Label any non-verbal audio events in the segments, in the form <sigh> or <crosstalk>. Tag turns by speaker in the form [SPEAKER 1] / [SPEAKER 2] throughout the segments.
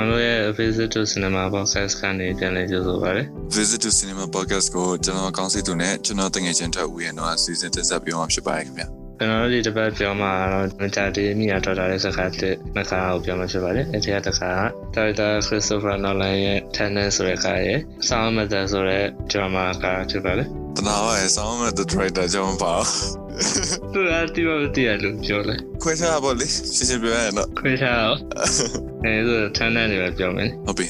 [SPEAKER 1] Visit to Cinema Podcast ကနေပြန်လည်ကြိုဆိုပါရစေ
[SPEAKER 2] Visit to Cinema Podcast ကိုကျွန်တော်ကောင်းစိတ်သူနဲ့ကျွန်တော်တငယ်ချင်းတို့ဦးရဲ့တော့အစီအစဉ်တင်ဆက်ပေးမှာဖြစ်ပါတယ်ခင်ဗျာ
[SPEAKER 1] ။ကျွန်တော်တို့ဒီတစ်ပတ်ပြောမှာတော့မတာတေးမိယာတော်တာရဲ့စကားတစ်နှစ်ခါကိုပြောမှာဖြစ်ပါတယ်။အဲဒီကတစ်ခါဒါရိုက်တာခရစ်စတိုဖာနော်လန်ရဲ့ Tenet ဆိုတဲ့ကားရဲ့ Sound Method ဆိုတဲ့ drama ကားဖြစ်ပါတယ်
[SPEAKER 2] တနာပါရဲ့ဆောင်းမဲ့ the director ကြောင့်မပါဘူး
[SPEAKER 1] ။သူကတိမမတိရလို့ပြောလဲ
[SPEAKER 2] ခွဲခြားတာပါလေရှင်းရှင်းပြောရရင်တော့
[SPEAKER 1] ။ခရစ်ရှာရောအဲဒါဆို Tenet တွေပဲပြောမယ်
[SPEAKER 2] ဟုတ်ပြီ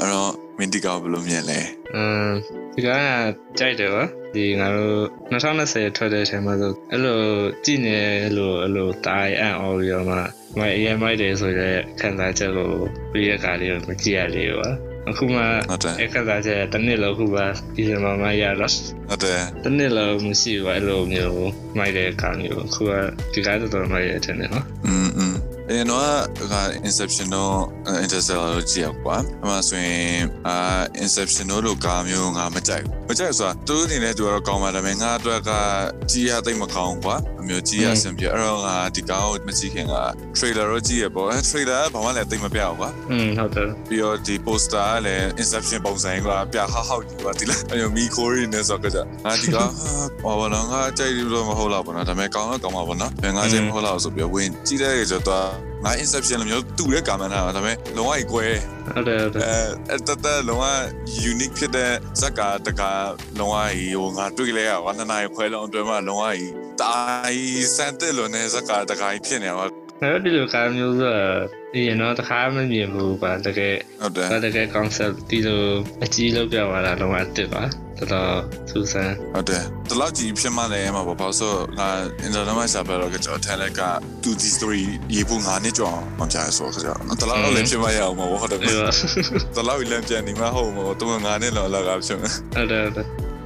[SPEAKER 2] အဲ့တော့မင်းဒီကဘယ်လိုမြင်လဲ
[SPEAKER 1] ။အင်းဒီကကကြိုက်တယ်ပါ။ဒီငါတို့2020ထွက်တဲ့အချိန်မှာဆိုအဲ့လိုကြည်နေအဲ့လိုအဲ့လိုတားရအံ့အော်ပြီးတော့မှမိုက်အရင်မိုက်တယ်ဆိုတဲ့ခံစားချက်ကိုပြည့်ရကားလေးကိုမကြည့်ရသေးဘူးပါ။အခုမှ
[SPEAKER 2] ဟုတ်တယ်
[SPEAKER 1] အဲ့ခါသာကျတဲ့တစ်နစ်လောက်ခုပါဒီဇင်ဘာမှာရတော့
[SPEAKER 2] ဟုတ်တယ်
[SPEAKER 1] တစ်နစ်လောက်မရှိဘူးအဲ့လိုမျိုးမိုက်တဲ့အခါမျိုးခုကဒီကားတော်တော်မိုက်ရတဲ့နေနော်
[SPEAKER 2] อืมอืมအဲ့တော့က inception တော့ interstellar လို့ကြည့်ရကွာအမှဆိုရင်အာ inception တို့လိုကားမျိုးငါမကြိုက်ဘူးမကြိုက်ဆိုတာသူအနေနဲ့သူကတော့ကောင်းပါဒါပေမဲ့ငါအတွက်ကကြည့်ရသိမ့်မကောင်းဘူးကွာအမျိုးကြည့်ရအဆင်ပြေအဲ့တော့ငါဒီကားကိုမကြည့်ခင်က trailer တော့ကြည့်ရပေါ့ <laughs> အဲ့ trailer ကဘာမှလည်းသိမ့်မပြဘူးကွာ
[SPEAKER 1] อืมဟုတ်တယ်
[SPEAKER 2] ပြီးတော့ဒီ poster ကလည်း inception ပုံစံကြီးကပြဟဟောက်ကြီးကဒီလားအဲ့လိုမီခိုရီနဲ့ဆိုတော့ကြငါဒီကဟာဘာလို့ငါကြိုက်လို့မဟုတ်လားဘောနော်ဒါပေမဲ့ကောင်းတော့ကောင်းပါဘောနော်ဘယ်ငါကြိုက်မဟုတ်လားဆိုပြီးဝင်ကြည့်လိုက်ကြတော့ငါ inception လိုမျိုးတူရဲ့ကာမန်တာဒါပေမဲ့လုံးဝကြီးကွဲ
[SPEAKER 1] ဟုတ်တယ်ဟုတ်တယ်
[SPEAKER 2] အဲတတလုံးဝ unique ဖြစ်တဲ့ဇက်ကတကလုံးဝကြီးဟိုငါတွေ့လဲရပါနှစ်နာရီခွဲလုံးအတွင်းမှာလုံးဝကြီးတိုင်းစမ်းတဲ့လုံးနဲ့ဇက်ကတကကြီးဖြစ်နေပါ
[SPEAKER 1] ငါတို့ဒီလိုကားမျိုးဆိုတော့ဒီရင်တော့တခါမမြင်ဘူးပါတကယ်
[SPEAKER 2] ဟုတ်တယ်
[SPEAKER 1] ဒါတကယ် concept ဒီလိုအကြီးလောက်ပြသွားတာလုံးဝအစ်စ်ပါတော်တော်စူးစမ်း
[SPEAKER 2] ဟုတ်တယ်ဒီလောက်ကြီးဖြစ်မှလည်းအမှာပေါ့ဘာလို့ဆိုတော့ငါ internet မှာစာပဲတော့ကျွန်တော် talent က to the story ရေးဖို့ငါနှစ်ကြောင်အောင်ကြာဆိုတော့ကျွန်တော်ဒီလောက်လည်းဖြစ်မှရအောင်မဟုတ်တယ်
[SPEAKER 1] ဒီ
[SPEAKER 2] ဒီ
[SPEAKER 1] တော့
[SPEAKER 2] လောက်လည်းပြန်နေမှာဟုတ်မဟုတ်တော့ငါနဲ့လောက်အလကားဖြစ်မယ်
[SPEAKER 1] ဟုတ်တယ်ဟုတ်တယ်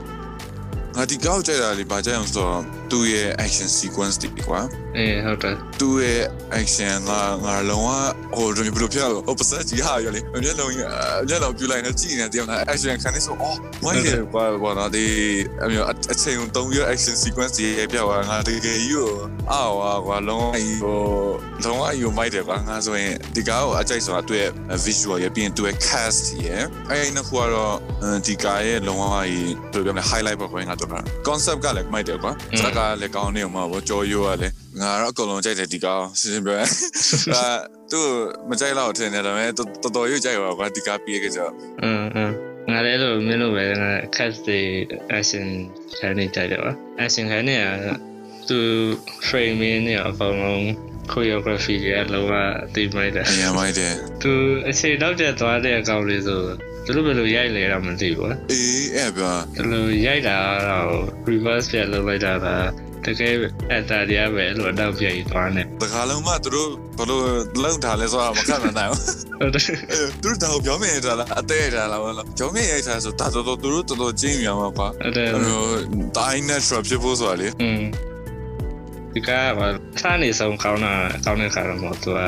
[SPEAKER 2] ငါဒီကောက်ကြိုက်တာလေဘာကြိုက်အောင်ဆိုတော့သူ့ရဲ့ action sequence တွေကွာ
[SPEAKER 1] အေးဟုတ်တယ်
[SPEAKER 2] သူ့ရဲ့ action ကငါလုံးဝဟိုဘယ်လိုဖြစ်ရလဲဟိုပစက်ကြီးဟာရလေမျက်လုံးကြီးမျက်လုံးပြလိုက်နေကြည့်နေတယ်ငါ action ခံနေဆိုအော်ဝိုင်းတယ်ဘာဘာနော်ဒီအမျိုးအချိန်တုံးရ action sequence ကြီးပြသွားငါတကယ်ကြီးကိုအာဝါကွာလုံးဝဟိုလုံးဝယူမိုက်တယ်ကွာငါဆိုရင်ဒီကားကိုအကြိုက်ဆိုတာသူ့ရဲ့ visual ရပြီးရင်သူ့ရဲ့ cast ရအဲဒီနှစ်ခုကတော့ဒီကားရဲ့လုံးဝကြီးဘယ်လိုပြောမလဲ highlight ပဲခွင့်ငါတို့က concept ကလည်းမိုက်တယ်ကွာစကားလည်းကောင်းနေအောင်ပါဘောကြော်ရိုးကလည်းငါတော့အကုန်လုံးကြိုက် <laughs> တယ်ဒီကားစင်စင်ပြော အာသူ့မကြိုက်တော့ထင်တယ်ဒါပေမဲ့တော်တော်ရွတ်ကြိုက်ပါကွာဒီကားပြေးခဲ့ကြတော့
[SPEAKER 1] อืมๆငါလည်းအဲ့လိုမင်းတို့ပဲငါ cast တွေ action ခံနေကြတယ်ပါ action ခံနေတာကသူ framing နဲ့အပေါင်းလုံး choreography တွေအလုံးဝအသိမိုက်တယ်
[SPEAKER 2] အရင်မိုက်တယ်
[SPEAKER 1] သူအခြေနောက်ကျသွားတဲ့အကောင်လေးဆိုသူတို့ဘယ်လိုရိုက်လဲတော့မသိဘူးကွာ
[SPEAKER 2] အေးအဲ့ဗျာ
[SPEAKER 1] သူတို့ရိုက်တာကတော့ reverse ပြန်လုပ်လိုက်တာကတကယ်အတ္တတရားပဲအဲ့လိုအတော့ပြန်ကြီးသွားနေ
[SPEAKER 2] တကားလုံးမှသူတို့ဘလို့လောက်ထားလဲဆိုတော့မခံနိုင်ဘူး
[SPEAKER 1] ဟုတ်တယ်
[SPEAKER 2] အေးသူတို့တော့ပြောင်းမြင်ထားလားအသေးထားလားဘာလို့ပြောင်းမြင်ရထားဆိုဒါတော်တော်သူတို့တော်တော်ကျင်းပြန်ပါကွာ
[SPEAKER 1] ဟုတ်တယ်
[SPEAKER 2] အဲ့လိုတိုင်း natural ဖြစ်ဖို့ဆိုတာလေ
[SPEAKER 1] อืมဒီကဘာစားနေဆုံးကောင်းတာကောင်းတဲ့ခါတော့မဟုတ်သူက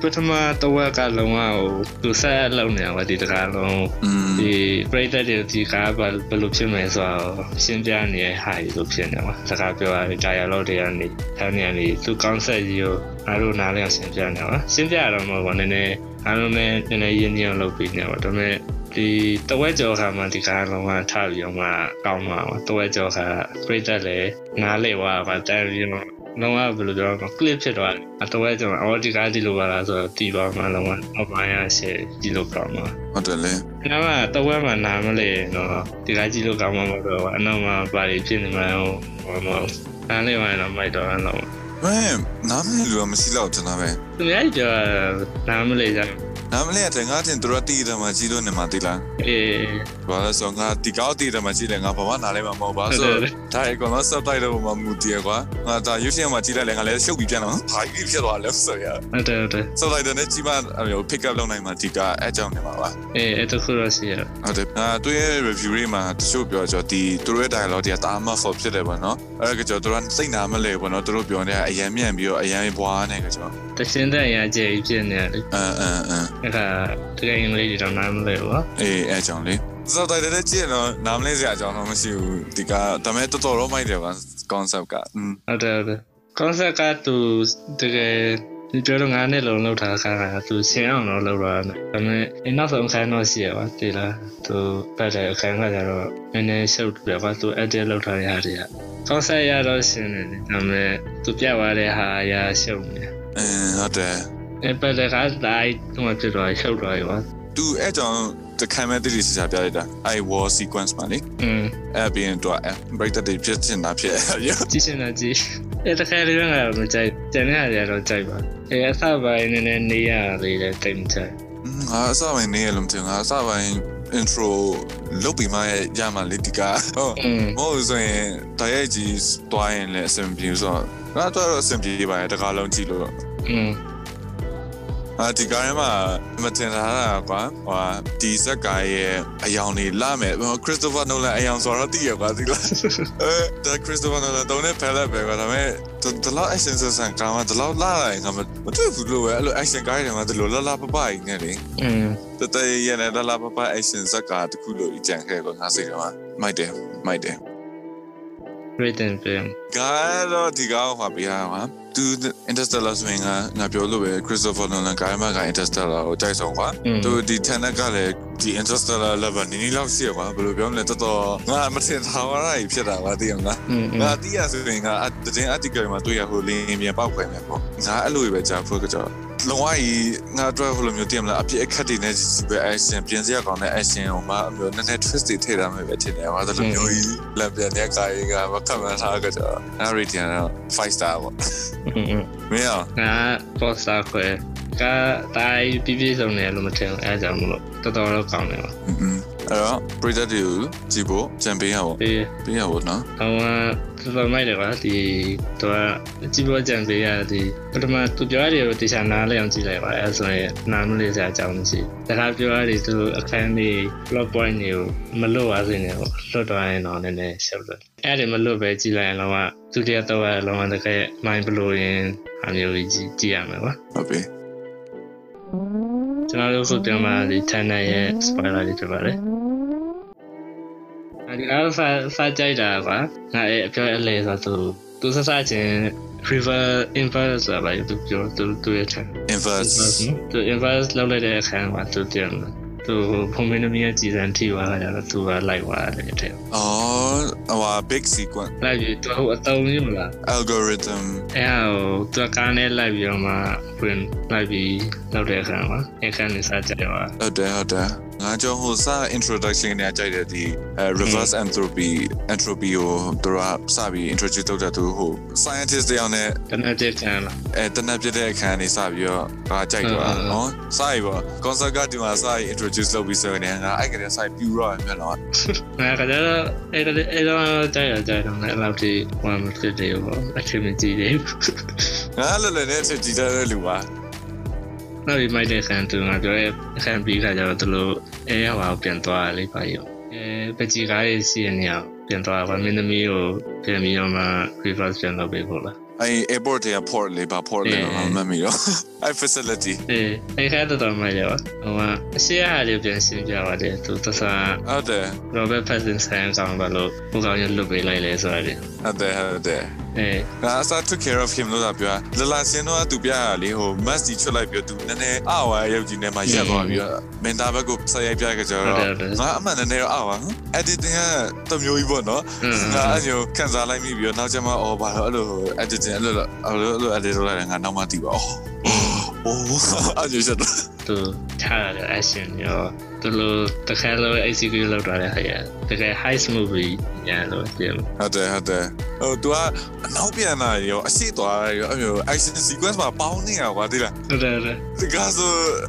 [SPEAKER 1] ပထမတစ်ဝက်ကလုံအောင်သူဆက်အလုပ်နေအောင်ပဲဒီတကားလုံး
[SPEAKER 2] อืม
[SPEAKER 1] ဒီပရိသတ်တွေဒီကားဘာဘယ်လိုဖြစ်မလဲဆိုတော့ရှင်းပြနေတဲ့ဟာကြီးလိုဖြစ်နေမှာစကားပြောရတဲ့ dialogue တွေကနေထောင်းနေနေသူ concept ကြီးကိုအားလုံးနားလည်အောင်ရှင်းပြနေပါရှင်းပြရတော့မဟုတ်ဘူးနည်းနည်းအားလုံးနဲ့နည်းနည်းရင်းနှီးအောင်လုပ်ပြီးနေပါဒါပေမဲ့ဒီတဝက်ကျော်ခါမှဒီကားလုံးကထပြီးတော့မှကောင်းသွားပါတဝက်ကျော်ခါပရိသတ်လည်းနားလည်သွားပါတန်ပြီးတော့လုံးဝဘယ်လိုပြောရမလဲ clip ဖြစ်သွားတယ်အတဝက်ကျော်အော်ဒီကားဒီလိုပါလားဆိုတော့တီးပါမှလုံးဝအပိုင်းရရှယ်ဒီလိုပြောမှာ
[SPEAKER 2] ဟုတ်တယ်လေ
[SPEAKER 1] ။ကျွန်တော်ကတော့ဝက်မှနားမလဲတော့ဒီကကြည့်လို့ကောင်းမှာမဟုတ်တော့အနောက်မှာပါရီဖြစ်နေမှန်းဟိုမဟုတ်နားလဲမှတော့မိုက်တော့တော့
[SPEAKER 2] မင်းနားမလည်လို့မရှိတော့ကျွန်တော်ပဲ
[SPEAKER 1] သူများကြတော့နားမလဲကြ
[SPEAKER 2] နားမလည်တဲ့ငါတင်သူတို့တီးတယ်မှာကြီးလို့နေမှာတီးလား
[SPEAKER 1] အေး
[SPEAKER 2] ဘာလဲဆိုတော့ငါဒီကောက်တည်တယ်မှာကြည့်တယ်ငါဘာမှနားလဲမှာမဟုတ်ပါဘူးဆို
[SPEAKER 1] ဟုတ်တယ်
[SPEAKER 2] တော့ဒါအကောင်တော့စပ်တိုက်တော့မှမူတည်ရကွာငါဒါရုပ်ရှင်မှာကြည့်လိုက်လဲငါလည်းရှုပ်ပြီးပြန်တော့ဟာကြီးဖြစ်သွားလဲဆိုရ
[SPEAKER 1] ဟုတ်တယ်ဟုတ်တယ်
[SPEAKER 2] စပ်တိုက်တယ်နဲ့ကြီးမှအမျိုး pick up လုပ်နိုင်မှာဒီကအဲအကြောင်းနေမှာပါ
[SPEAKER 1] အေးအဲ့တခုတော့ရှိရ
[SPEAKER 2] ဟုတ်တယ်ငါသူရဲ့ review တွေမှာတချို့ပြောကြတော့ဒီသူတို့ရဲ့ dialogue တွေကတာမဖို့ဖြစ်တယ်ပေါ့နော်အဲ့ဒါကကြောသူတို့ကစိတ်နာမလဲပေါ့နော်သူတို့ပြောနေတဲ့အရန်မြန်ပြီးတော့အရန်ဘွားနေကကြော
[SPEAKER 1] တရှင်းတဲ့အရာကြီးဖြစ်နေတယ်
[SPEAKER 2] အမ်အမ်အမ်
[SPEAKER 1] အဲ့ဒါတကယ်အင်္ဂလိပ်တွေတော့နားမလည်ဘူးနော်
[SPEAKER 2] အေးအဲကြောင့်လေစတော့တိုက်တဲ့ကြည့်တော့နားမလဲစရာအကြောင်းတော့မရှိဘူးဒီကဒါပေမဲ့တော်တော်တော့မိုက်တယ်ပါ concept ကအင်း
[SPEAKER 1] ဟုတ်တယ်ဟုတ်တယ် concept ကသူတကယ်ဒီပြောတော့ငါနဲ့လုံလောက်တာခါကသူရှင်းအောင်တော့လောက်တာနဲ့ဒါပေမဲ့အနောက်ဆုံးအခန်းတော့ရှိရပါသေးလားသူပတ်တဲ့အခန်းကကြတော့နည်းနည်းရှုပ်တယ်ပါသူ edit လောက်တာရတယ်က concept ရတော့ရှင်းတယ်လေဒါပေမဲ့သူပြသွားတဲ့ဟာအရာရှုပ်နေ
[SPEAKER 2] အင်းဟုတ်တယ်
[SPEAKER 1] အဲ့ပတ်တဲ့ခါတိုင်းသူကပြတော့ရှုပ်တော့ရော
[SPEAKER 2] သူအဲ့ကြောင့်တခိုင်မဲ့တိတိကျကျပြလိုက်တာအဲ့ war sequence မှာလေ
[SPEAKER 1] อืม
[SPEAKER 2] အဲ့ပြီးရင်တော့ break that ဖြစ်ချင်တာဖြစ် <laughs> ရော
[SPEAKER 1] ကြည့်ရှင်တာကြည့်အဲတခါလေးကငါတော့မကြိုက်တန်တဲ့ဟာတွေကတော့ကြိုက်ပါအဲအစပိုင်းနည်းနည်းနေရသေးတယ်တိတ်မကြိုက်
[SPEAKER 2] ငါအစပိုင်းနေရလို့မထင်ငါအစပိုင်း intro လုတ်ပြီးမှရမှလေဒီကဟုတ်
[SPEAKER 1] อืม
[SPEAKER 2] မဟုတ်ဆိုရင်တရိုက်ကြီးတွားရင်လည်းအဆင်ပြေဆိုတော့ငါတော့အဆင်ပြေပါတယ်တကားလုံးကြည့်လို့
[SPEAKER 1] อืม
[SPEAKER 2] အာဒီကားထဲမှာမတင်လာတာကွာဟိုဒီဇက်ကာရဲ့အယောင်တွေလာမယ်ခရစ်စတိုဖာနိုလန်အယောင်ဆိုတော့တည်ရပါသီလား အဲဒါခရစ်စတိုဖာနိုလာတောင်းနေဖဲလိုက်ပဲကွာဒါပေမဲ့ဒီဒီလောက် action ဆန်ဆန်ကောင်ကဒီလောက်လာတာငါမမတွေ့ဘူးလို့ပဲအဲ့လို action ကားတွေကဒီလိုလာလာပပကြီးနဲ့လေ
[SPEAKER 1] อืม
[SPEAKER 2] တတရရနဲ့လာလာပပ action ဇက်ကာတခုလို့အကြံခဲ့ကောငါစိတ်ထဲမှာမိုက်တယ်မိုက်တယ်
[SPEAKER 1] written film
[SPEAKER 2] ကတော့ဒီကောင်ဟောပြရမှာသူ Interstellar ဆိုရင်ကငါပြောလို့ပဲ Christopher Nolan ကာမက Interstellar ကိုကြိုက်ဆုံးကွာ
[SPEAKER 1] อืม
[SPEAKER 2] သူဒီ Tenet ကလည်းဒီ Interstellar level နည်းနည်းလောက်ရှိရကွာဘယ်လိုပြောမလဲတော်တော်ငါမထင်သာဝရကြီးဖြစ်တာကွာသိရမလား
[SPEAKER 1] อืม
[SPEAKER 2] ငါတီးရဆိုရင်ငါအတင်း article မှာတွေ့ရဟိုလင်းပြန်ပောက်ခွဲမယ်ပေါ့ငါအဲ့လိုပဲကြာဖို့ကကြောလုံဝကြီးငါတွေ့ဟိုလိုမျိုးတည်မလားအပြစ်အခက်တွေနဲ့ကြီးကြီးပဲ action ပြင်စရာကောင်းတဲ့ action ဟိုမှာအမျိုးနည်းနည်း twist တွေထည့်ထားမယ်ပဲထင်တယ်ဟာဒါလိုမျိုးကြီးလက်ပြန်တဲ့ကာရီကမကမှန်းထားကကြောငါ rating တော့5 star ပေါ့
[SPEAKER 1] อืมอืม
[SPEAKER 2] မင်းအောင်
[SPEAKER 1] ငါ poster ခွဲကတိုင်းပြည့်ပြည့်စုံတယ်လို့မထင်ဘူးအဲဒါကြောင့်မလို့တော်တော်တော့ကောင်းတယ်ပါ
[SPEAKER 2] အင်းအဲ့တော့ predator တွေကိုကြည့်ဖို့ကြံပေးရပေါ့
[SPEAKER 1] ပြီး
[SPEAKER 2] ပေးရပေါ့နော်
[SPEAKER 1] ဟိုကတော်တော်မိုက်တယ်ပါဒီတော့အကြည့်ပေါ်ကြံပေးရဒီပထမသူပြောရတယ်ကိုတေချာနားလဲအောင်ကြည့်လိုက်ပါအဲဆိုရင်နားမလဲစရာအကြောင်းမရှိဘူးတခါပြောရတယ်သူအခန်းလေး plot point တွေကိုမလွတ်ပါစေနဲ့ပေါ့လွတ်သွားရင်တော့နည်းနည်းရှုပ်တယ်အဲ့ဒီမလွတ်ပဲကြည့်လိုက်ရင်တော့သူတရားတော့အလုံးဝတကယ် mind blowing အမျိုးကြီးကြည့်ရမှာပါ
[SPEAKER 2] ဟုတ်ပြီ
[SPEAKER 1] ကျွန်တော်တို့ခုပြောမှာဒီ channel ရဲ့ spoiler တွေဖြစ်ပါတယ်အဲဒီအားဖာဖာကြိုက်တာပါငါအဲ့အပြောအလဲဆိုသူသူစစချင်း river inverse ဆိုတာပါသူပြောသူသူရဲ့ channel
[SPEAKER 2] inverse
[SPEAKER 1] သူ inverse လောက်လိုက်တဲ့အခါမှာသူတင်တယ်သူဖုန်မင်းသမီးရဲ့ကြည်စံထိသွားတာတော့သူကလိုက်သွားတယ်တဲ့
[SPEAKER 2] အော်ဟိုဟာ big sequence
[SPEAKER 1] လိုက်ပြီးသူဟိုအတုံးကြီးမလား
[SPEAKER 2] algorithm
[SPEAKER 1] အဲဟိုသူကကားနဲ့လိုက်ပြီးတော့မှဝင်လိုက်ပြီးလောက်တဲ့အခါမှာအခန်းလေးစကြတယ်ပါ
[SPEAKER 2] ဟုတ်တယ်ဟုတ်တယ်ငါကြောင့်ဟိုစ introduction ကနေကြိုက်တဲ့ဒီအဲ reverse entropy entropy ကိုသူကစပြီး introduce လုပ်တဲ့သူဟို scientist တယောက်နဲ့
[SPEAKER 1] တနက်တက်ခံလား
[SPEAKER 2] အဲတနက်ပြတဲ့အခန်းနေစပြီးတော့ငါကြိုက်သွား
[SPEAKER 1] အင်းအင်း
[SPEAKER 2] နော်စပြီးပေါ့ concert ကဒီမှာစပြီး introduce လုပ်ပြီးဆိုရငလည်ငါအဲ့ကလေးစပြီးပြူရောရမြန်တော့
[SPEAKER 1] ငါကကြတော့အဲ့ဒါအဲ့ဒါကြိုက်ရကြိုက်တော့လည်းလောက်ထိဝမ်းမဖြစ်သေးဘူးအချင်းမကြည့်သေးဘူး
[SPEAKER 2] ငါလည်းလည်းနဲ့အချက်ကြည့်တဲ့လူပါ
[SPEAKER 1] နောက်ပြီးမိုက်တဲ့ခံသူငါပြောရဲအခန်းပြီးခါကျတော့သူတို့အဲဟောပြန်သွားလေးပါရောအဲပကြီးကားရဲ့စီးရနေအောင်ပြန်သွားပါမင်းသမီးကိုပြန်ပြီးတော့မှ reverse ပြန်လုပ်ပေးဖို့လား
[SPEAKER 2] အဲ airport တွေက port လေးပါ port လေး
[SPEAKER 1] အင်းအင်း
[SPEAKER 2] ပါမမီရော <laughs> အဲ facility
[SPEAKER 1] เออไอ้แค่ตัวต่อมาเลยว่ะเพราะว่าเสียหายเดี๋ยวเปลี่ยนสินပြပါတယ်သူသစာ
[SPEAKER 2] ဟုတ်တယ်
[SPEAKER 1] ရောဘတ်ဖက်ဆင်ဆိုင်ဆောင်ပါလို့ဟိုကောင်ရလွတ်ပေးလိုက်လဲဆိုရတယ်
[SPEAKER 2] ဟုတ်တယ်ဟုတ်တယ်
[SPEAKER 1] เออ
[SPEAKER 2] ငါအစား took care of him လို့သာပြောတာလလာစင်းတော့သူပြရတာလေဟို mask ကြီးချွတ်လိုက်ပြီးတော့သူနည်းနည်းအဝါရုပ်ကြီးနဲ့မှရက်သွားပြီးတော့မင်တာဘက်ကိုဆက်ရိုက်ပြခဲ့ကြ
[SPEAKER 1] ဟုတ်
[SPEAKER 2] တော့
[SPEAKER 1] တယ်ဟုတ်တယ်
[SPEAKER 2] ငါအမှန်တကယ်တော့အဝါဟမ် editing ကတစ်မျိုးကြီးပေါ့နော်
[SPEAKER 1] อืม
[SPEAKER 2] ငါအညိုခံစားလိုက်မိပြီးတော့နောက်ကျမှအော်ဘာလို့အဲ့လို editing အဲ့လိုလိုအဲ့လိုအဲ့လို edit လုပ်လိုက်တယ်ငါနောက်မှသိပါအော်အိုးအညိုချက်တော့
[SPEAKER 1] သူထားရတဲ့ action ရောသူလိုတခါလို execute လုပ်ထားတဲ့ဟာရတကယ် high movie ညာလို့ပြော
[SPEAKER 2] ဟုတ်တယ်ဟုတ်တယ်ဟို तू ကအနောက်ပြန်လာရောအရှိသွားရောအဲ့လို action sequence မှာပေါင်းနေရကွာတိလား
[SPEAKER 1] ဟုတ်တယ်ဟုတ်တယ်
[SPEAKER 2] 这个是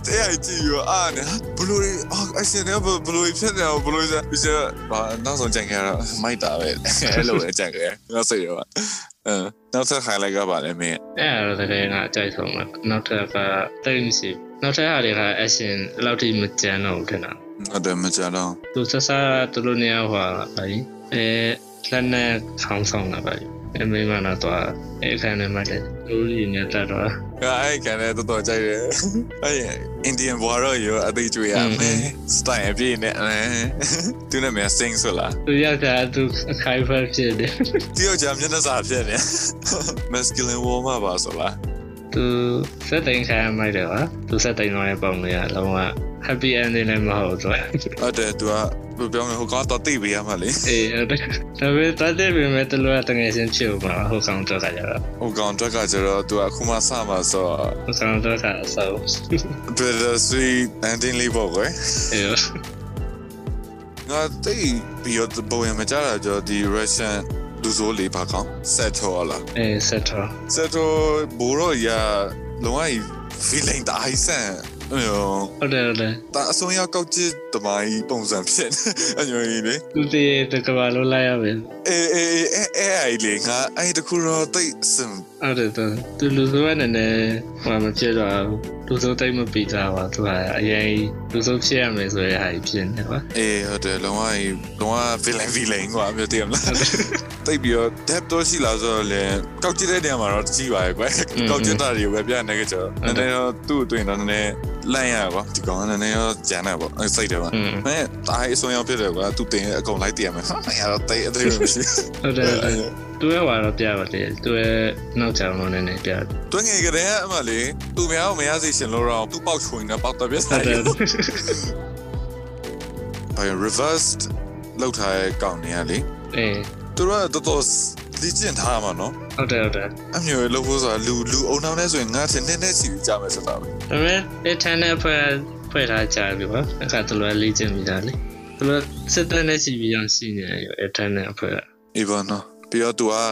[SPEAKER 2] 这样记住啊，你不录音啊，而且你不不录音片了，不录音片，而且把那种讲开了，没打呗，那种讲开，那谁了吧？嗯，那这还来个吧，那没，
[SPEAKER 1] အဲ့ဒါတော့တကယ်ငါအကြိုက်ဆုံးပဲနောက်ထပ်ကတိတ်မရှိဘူးနောက်ထပ်ဟာတွေက action လောက်ထိမကြမ်းတော့ဘူးထင်တာ
[SPEAKER 2] 那对没讲了，
[SPEAKER 1] သူစစသူတို့နေရာဟွာပါကြီးအဲလက်နဲ့ခေါင်းဆောင်လာပါကြီးအမေမနာတော့အဲ့ခံနေမှလည်းသူရင်းနဲ့တတ်တော့
[SPEAKER 2] အဲ့ကန်လည်းတော်တော်ကြိုက်တယ်အဲ့အိန္ဒိယဘွားတော့ရောအသေးကျွေးရမယ် style အပြည့်နဲ့အဲသူနဲ့မြန် sing ဆိုလား
[SPEAKER 1] သူရောက်တာသူအခိုင်အဖက်ဖြစ်တယ်
[SPEAKER 2] တယောက်ကြာမျက်နှာစာဖြစ်နေ masculine warm up ပါဆိုလား
[SPEAKER 1] သူစက်တင်ခံရမိုက်တယ်ကွာသူစက်တင်သွားတဲ့ပုံလေးကလုံးဝ happy ending လည်းမဟုတ်ဘူးသူက
[SPEAKER 2] ဟုတ်တယ်သူကဘယ်လိုပြောမလဲဟိုကောင်တော့တိပေးရမှာလေ
[SPEAKER 1] အေးအဲ့ဒါဒါပေမဲ့တ <laughs> တ်တယ်ပေမဲ့တလူကတကယ်ချင်းဖြစ်ဦးမှာဟုတ်ကောင်တော့ကကြတော့
[SPEAKER 2] ဟိုကောင်တွက်ကကျတော့သူကအခုမှစမှာဆိုတော့
[SPEAKER 1] ဟုတ်ကောင်တော့ <laughs> ကအဆောက်
[SPEAKER 2] bitter sweet ending လေးပေါ့ကွယ်
[SPEAKER 1] အေး
[SPEAKER 2] ငါတိတ်ပြီးတော့ဘဝင်မကြတာကျတော့ဒီ Russian လူစိုးလေးပါကောင် settle ဟောလား
[SPEAKER 1] အေးဆက်တော့
[SPEAKER 2] settle ဘူရောရလုံးဝ feeling တိုင်းဆန်အော်
[SPEAKER 1] ဟုတ်တယ်ဟုတ်တယ်
[SPEAKER 2] တအဆုံးရောက်ကောက်ကျစ်တမိုင်းပုံစံဖြစ်နေအညိုကြီးလေ
[SPEAKER 1] သူတည်းတကဘာလို့လိုက်ရပဲ
[SPEAKER 2] အေးအေးအေးအဲအဲ့လေငါအဲ့တခုတော့တိတ်စင်
[SPEAKER 1] ဟုတ်တယ်သူသူလူစိုးကနည်းနည်းဟိုမဖြစ်တော့ဘူးလူစိုးတိတ်မပီတာပါသူကအရင်လူစိုးဖြစ်ရမယ်ဆိုရဟာကြီးဖြစ်နေပါ
[SPEAKER 2] အေးဟုတ်တယ်လုံးဝကြီးလုံးဝ villain villain ကွာမြို့တည်မလားတိတ်ပြီးတော့ depth တော့ရှိလားဆိုတော့လေကောက်ကြည့်တဲ့နေရာမှာတော့ကြည့်ပါရဲ့ကွာ
[SPEAKER 1] อืม
[SPEAKER 2] ကောက်ကြည့်တာတွေကိုပဲပြနေကြတော့နည်းနည်းတော့သူ့အတွင်းတော့နည်းနည်းလန့်ရကွာဒီကောင်ကနည်းနည်းတော့ကြမ်းတယ်ပေါ့အဲ့စိတ်တယ်ကွာ
[SPEAKER 1] อืม
[SPEAKER 2] မဲတားအဆုံးရောက်ဖြစ်တယ်ကွာသူတင်အကုန်လိုက်တည်ရမယ်ဟာအဲ့ရတော့တိတ်အသေးလို့ရှိ
[SPEAKER 1] ဟုတ်တယ်ဟုတ်တယ် တွဲပါတော့ပြပါတယ်တွဲနောက်ကြောင်လုံးနည်းနည်းပြတယ်
[SPEAKER 2] တွင်းငယ်ကလေးကအမလေးသူများကိုမရစေရှင်လို့တော့သူ့ပေါက်ချွင်နေပေါက်တော့ပြစ်
[SPEAKER 1] ဟု
[SPEAKER 2] စား
[SPEAKER 1] တ်တ
[SPEAKER 2] ရ
[SPEAKER 1] ယ်
[SPEAKER 2] တယ် ဘာလဲ reversed လောက်ထားတဲ့ကောင်နေရလေ
[SPEAKER 1] အေး
[SPEAKER 2] သူတို့ကတော်တော်လေ့ကျင့်ထားမှာနော်
[SPEAKER 1] ဟုတ်တယ်ဟုတ်တယ်
[SPEAKER 2] အမျိုးလို့ဖို့ဆိုတာလူလူအုံနောက်နဲ့ဆိုရင်ငါတင်နေနဲ့စီပြီးကြမယ်ဆိုတာ
[SPEAKER 1] ဒါ
[SPEAKER 2] ပဲ
[SPEAKER 1] ပေမဲ့အထန်နဲ့ဖွဲ့ဖွဲ့ထားကြပြီပါအခါသူလည်းလေ့ကျင့်ပြီးသားလေသူလည်းစစ်တမ်းနဲ့ရှိပြီးအောင်ရှိနေတယ်အထန်နဲ့ဖွဲ့က
[SPEAKER 2] အေးပါနော်ပြီးတော့ तू อ่ะ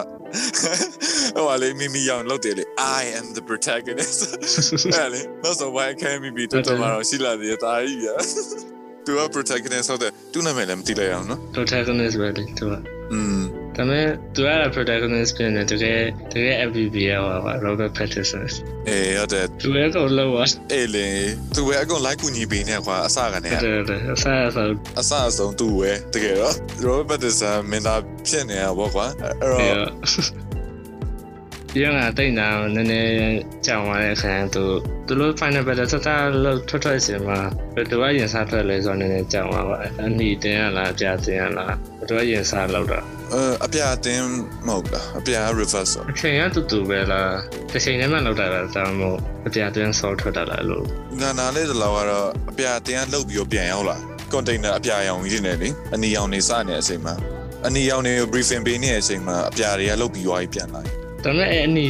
[SPEAKER 2] <laughs> ဟိုလေမိမိရောင်လောက်တယ်လေ I am the protagonist <laughs> အဲ့လေနောက်ဆုံး why can't we be တော်တော်မှာတော့ရှိလာသေးတယ်ဒါကြီးပြ तू อ่ะ protagonist ဟုတ်တယ်သူ့နာမည်လည်းမသိလိုက်အောင်နော်
[SPEAKER 1] protagonist ပဲလေသူက
[SPEAKER 2] อืม
[SPEAKER 1] ဒါပေမဲ့သူက protagonist ဖြစ်နေတယ်တကယ်တကယ် FBB ရောပါ Robert Pattinson
[SPEAKER 2] အေးဟုတ်တယ်
[SPEAKER 1] သူလည်းကိုလောက်ပါ
[SPEAKER 2] အေးလေ तू ပဲအကုန် like ကူညီပေးနေကွာအစကနေ
[SPEAKER 1] တ
[SPEAKER 2] က
[SPEAKER 1] ယ်တယ်အစားအသောက်
[SPEAKER 2] အစအဆုံး तू ပဲတကယ်တော့ Robert Pattinson မင်းသားဖြစ်နေတာပေါ့ကွာအဲ့
[SPEAKER 1] ပြီး
[SPEAKER 2] တော့
[SPEAKER 1] တော့ <laughs> ပြန်လာတိတ်နာနည်းနည်းကြောင်သွားတဲ့အခါသူသူတို့ final battle စတာလောက်ထွက်ထွက်စင်မှာသူကရင်စားထွက်လဲဆိုတော့နည်းနည်းကြောင်သွားပါတယ်အနီတင်းရလားအပြတင်းရလားသူကရင်စားလောက်တော့
[SPEAKER 2] အဲအပြအတင်းမဟုတ်လားအပြ reverse ဆို
[SPEAKER 1] အချိန်ကတူတူပဲလားတစ်ချိန်တည်းမှလောက်တာလားဒါမှမဟုတ်အပြတင်းဆော့ထွက်တာလားလို့
[SPEAKER 2] ငါနာလေးတလောက်ကတော့အပြအတင်းကလှုပ်ပြီးတော့ပြန်ရောက်လာ container အပြရောင်ကြီးနေလေအနီရောင်နေစနေတဲ့အချိန်မှာအနီရောင်တွေကို briefing ပေးနေတဲ့အချိန်မှာအပြတွေကလှုပ်ပြီးသွားပြီးပြန်လာတယ်
[SPEAKER 1] ဒါပေမဲ့အဲ့အနီ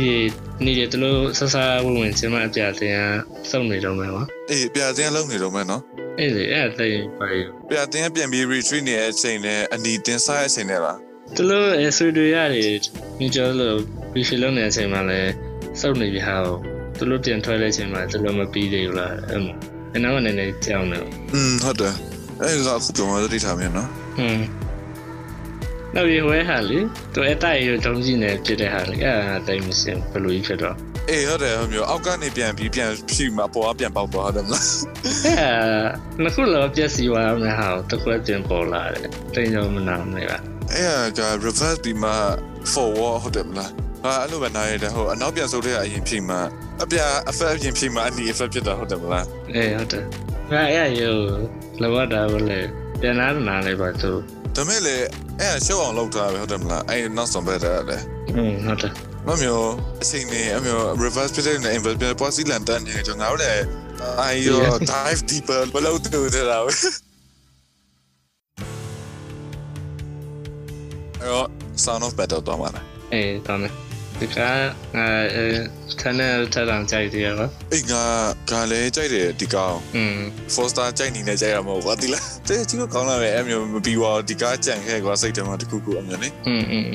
[SPEAKER 1] နီတွေသူတို့ဆဆဝင်ဝင်ချင်းမှအပြတင်းကစုံနေတော့မှာပါ
[SPEAKER 2] အေးအပြအတင်းကလှုပ်နေတော့မယ်နော်
[SPEAKER 1] အဲ့လေအဲ့သိပါရ
[SPEAKER 2] အပြအတင်းကပြန်ပြီး retreat နေတဲ့အချိန်နဲ့အနီတင်းစားတဲ့အချိန်နဲ့လား
[SPEAKER 1] သူတို့အဆွေတွေရတယ်မြင်ကြလို့ပြီးဖြစ်လုံးနေတဲ့အချိန်မှာလဲစောက်နေပြီဟာကိုသူတို့ပြန်ထွက်တဲ့အချိန်မှာသူတို့မပြီးသေးဘူးလားအဲ့မှာအနောက်ကနေနေကြောင်းတယ်
[SPEAKER 2] อืมဟုတ်တယ်အဲ့ဒါကအခုပြောမှသတိထားမယ်နော်
[SPEAKER 1] ဟွန်းနောက်ရေဝဲဟာလေသူအတိုက်ရုံတုံးကြီးနေဖြစ်တဲ့ဟာလေအဲ့ဒါအတိုင်းမရှင်းဘယ်လိုကြီးဖြစ်တော့
[SPEAKER 2] အေးဟုတ်တယ်ဟိုမျိုးအောက်ကနေပြန်ပြီးပြန်ဖြီမှာအပေါ်ကပြန်ပေါက်သွားတယ်မလား
[SPEAKER 1] အဲ့ဒါနှစ်ခုလောပြက်စီသွားမယ်ဟာကိုတစ်ခွက်ပြန်ပေါ်လာတယ်တိမ်ကြောင်မနာမလဲပါ
[SPEAKER 2] အဲ့ဒါက reverse ဒီမှာ forward ဟုတ်တယ်မလားငါအဲ့လိုပဲနားရတယ်ဟိုအနောက်ပြန်ဆုပ်တဲ့အရင်ဖြီမှာအပြအဖက်အရင်ဖြီမှာအနီအဖက်ဖြစ်တာဟုတ်တယ်မလား
[SPEAKER 1] အေးဟုတ်တယ်ငါအဲ့ရုံလောကတာဘယ်လဲပြန်လာတာနားလဲပါသူ
[SPEAKER 2] ဒါမဲ့လေအဲ့ရှုပ်အောင်လုပ်ထားပဲဟုတ်တယ်မလားအဲ့နောက်ဆုံးပဲတဲ့လေ
[SPEAKER 1] ဟွန်းဟုတ်တယ်
[SPEAKER 2] မမျိုးအချိန်နေအမျိုး reverse pivot နဲ့ inverse pivot ပေါ်စီလန်တန်နေကျွန်တော်တို့လည်းအဲ့ရော dive deeper ဘယ်လိုတူတယ်လားအဲ့တော့ sound of battle တော့မှာလား
[SPEAKER 1] အေးဒါနဲ့ဒီကအဲဌာနထထောင်ကြိုက်တယ်ရော
[SPEAKER 2] အေးငါကလည်းကြိုက်တယ်ဒီကောင်
[SPEAKER 1] อืม
[SPEAKER 2] four star ကြိုက်နေနဲ့ကြိုက်ရမှာပေါ့ဒီလားတဲ့ကြည့်လို့ကောင်းလာပဲအဲ့မျိုးမပြီးပါဘူးဒီကားကြံခဲ့ကွာစိတ်ထဲမှာတစ်ခုခုအမျိုးနေ
[SPEAKER 1] อืมอืม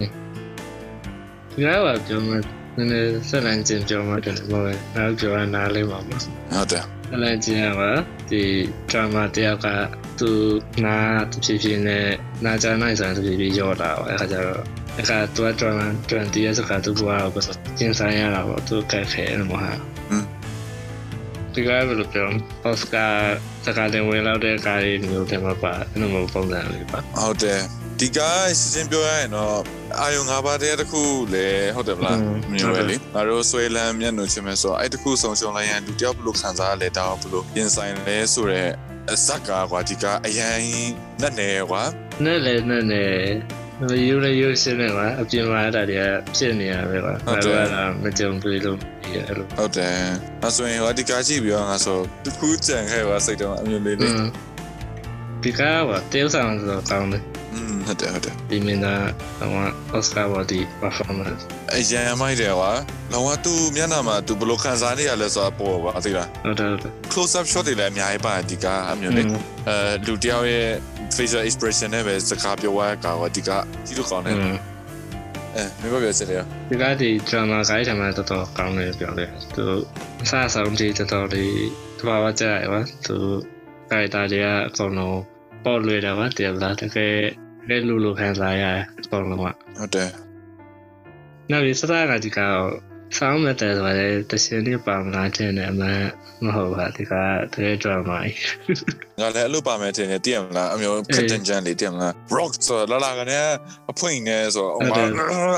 [SPEAKER 1] ဒီကတော့ကျွန်တော်နည်းနည်းဆက်လန်ကျင်ပြောမှတယ်လို့ပဲနောက်ကျွန်တော်နားလေးပါမှာ
[SPEAKER 2] ဟုတ်တယ်
[SPEAKER 1] ဆက်လန်ကျင်ကဒီ drama တယောက်ကသူနာတဖြည်းဖြည်းနဲ့နာကြနိုင်ဆိုင်တဖြည်းဖြည်းရောတာပဲအခါကျတော့အခါသူက drama 20ရဲ့စကားသူကတော့ဘယ်လိုကျင်ဆိုင်ရတာပေါ့သူကက်ခဲတယ်မဟုတ် ဒီကဘယ်လိုပြောပေါ့စကာစကာတင်ဝင်လောက်တဲ့ကားလေးမျိုးတွေမှာပါအဲ့လိုမျိုးပုံစံလေးပါ
[SPEAKER 2] ဟုတ်တယ်ဒီကားစစ်စစ်ပြောရရင်တော့ အာယုံ၅ပါးတည်းတစ်ခုလေဟုတ်တယ်မလား
[SPEAKER 1] อืม
[SPEAKER 2] မျိုးပဲလေငါတို့ဆွေလန်းမျက်နှာချင်းမဲ့ဆိုတော့အဲ့တစ်ခုဆုံရှုံလိုက်ရင်လူတစ်ယောက်ဘယ်လိုခံစားရလဲဒါရောဘယ်လိုပြင်ဆိုင်လဲဆိုတော့အစက်ကကွာဒီကအရန်နဲ့နေကွာ
[SPEAKER 1] နဲ့လေနဲ့လေယူရယူရှင်းနေမှာအပြင်မှာအဲ့ဒါတွေကဖြစ်နေရပဲကွာဘာလို့လဲမကြုံတွေ့လို့ဒီအဲ့လို
[SPEAKER 2] ဟုတ်တယ်အဲ့ဆိုရင်ဟောဒီကကြည့်ပြီးတော့ငါဆိုတစ်ခုကြံခဲ့ပါစိတ်တော့အမျိုးလေးလေး
[SPEAKER 1] ဒီကားကတေးဆောင်ဆိုတော့ကောင်းတယ်
[SPEAKER 2] อืมဟုတ်တယ်ဟုတ်တယ်
[SPEAKER 1] ဒီမင်းသားကအော်စကာဘော်ဒီပါဖော်မန့်
[SPEAKER 2] အရန်မိုက်တယ်ကွာလောကသူ့မျက်နှာမှာသူဘယ်လိုခံစားနေရလဲဆိုတာပေါ်ပါသိလား
[SPEAKER 1] ဟုတ်တယ်ဟုတ်တယ်
[SPEAKER 2] close up shot တွေလည်းအများကြီးပါတယ်ဒီကအမျိုးလေးအဲလူတစ်ယောက်ရဲ့ facial expression နဲ့ပဲစကားပြောရတာကွာဒီကကြည့်လို့ကောင်း
[SPEAKER 1] အ
[SPEAKER 2] တယ်
[SPEAKER 1] င်း
[SPEAKER 2] အဲမင်းပြောချင်တယ်ရော
[SPEAKER 1] ဒီကဒီ drama guide ထဲမှာတော်တော်ကောင်းတယ်ပြောတယ်သူအစားဆုံးဒီတော်တော်ဒီတဘာဝကြရပါသူ character တွေကအကုန်လုံးပေါ်လွယ်တယ်ပါတရားလားတကယ်လက်လူလူခံစားရတယ်အကုန်လုံးက
[SPEAKER 2] ဟုတ်တယ်
[SPEAKER 1] နောက်ပြီးစတားကဒီကတော့ဆောင်းမတဲ့ဆိုရဲတရှင်တွေပါမလာတဲ့နဲ့အမှန်မဟုတ်ပါဒီကတကယ် drama ကြီး
[SPEAKER 2] ငါလည်းအလုပ်ပါမယ်ထင်တယ်တည်ရမလားအမျိုး
[SPEAKER 1] အေး
[SPEAKER 2] captain jan လေးတည်ရမလား rock ဆိုတော့လာလာကနေအဖွင့်နေဆိုတော့အမ
[SPEAKER 1] ဟုတ်တယ်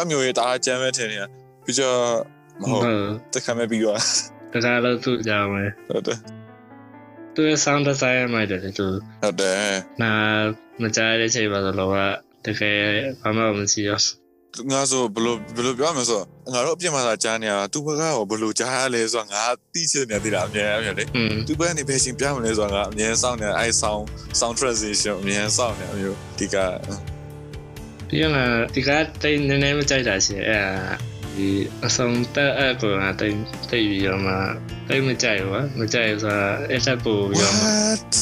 [SPEAKER 2] အမျိုးရေးတအားကြမ်းပဲထင်နေတာပြီးကြမဟုတ်တခါမဲ့ပြီး <laughs>
[SPEAKER 1] တက
[SPEAKER 2] သွား
[SPEAKER 1] ယ်လို့သူ့ကြောင့်ပဲ
[SPEAKER 2] ဟုတ်တယ်
[SPEAKER 1] သူရဲ့ sound design မိုက်တယ်သူ
[SPEAKER 2] ဟုတ်တယ်
[SPEAKER 1] နာမကြားတဲ့အချိန်ပါဆိုတော့ကတကယ်ဘာမှမရှိရော
[SPEAKER 2] ငါဆိုဘယ်လိုဘယ်လိုပြောရမလဲဆိုတော့ငါတို့အပြင်မှာသာကြားနေရတာသူ့ဘက်ကရောဘယ်လိုကြားရလဲဆိုတော့ငါသိချင်နေသေးတာအများအများလေ
[SPEAKER 1] อืม
[SPEAKER 2] သူဘက်ကနေဘယ်ရှင်ပြမလဲဆိုတာကအမြဲစောင့်နေအဲဆောင်းဆောင်း transition အမြဲစောင့်နေအမျိုးဒီက
[SPEAKER 1] ပြီးတော့ငါဒီကတိတ်နည်းနည်းမကြိုက်တာရှင်အဲဒါဒီအဆုံးတက်အပ်ကိုငါတိတ်တိတ်ပြီးတော့မှတိတ်မကြိုက်ဘူးကွာမကြိုက်ဘူးဆိုတာအဲ့ထက်ပိုပြီးတော့မှ
[SPEAKER 2] what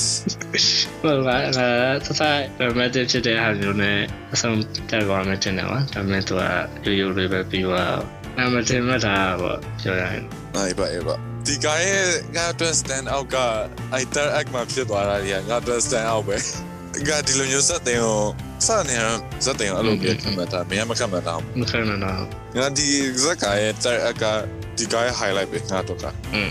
[SPEAKER 1] ဟုတ်ပါငါသစား dramatic ဖြစ်တဲ့ဟာမျိုးနဲ့အဆုံးတက်သွားမှတင်တယ်ကွာဒါပေမဲ့သူကရိုးရိုးလေးပဲပြီးသွားတော့အမတင်မတာပေါ့ပြောရရင်
[SPEAKER 2] နိုင်ပါရဲ့ပါဒီကရဲ့ငါ twist stand out က either act မှာဖြစ်သွားတာတွေကငါ twist stand out ပဲငါဒီလိုမျိုးစက်တင်ကိုစနေရစက်တင်ကိုအဲ့လိုမျိုးခံမှတ်တာမင်းကမခံမှတ်တာဘူး
[SPEAKER 1] မခံနိုင်တော့
[SPEAKER 2] ငါဒီဇက်ကရဲ့ third act ကဒီကရဲ့ highlight ပဲငါတော့က
[SPEAKER 1] อืม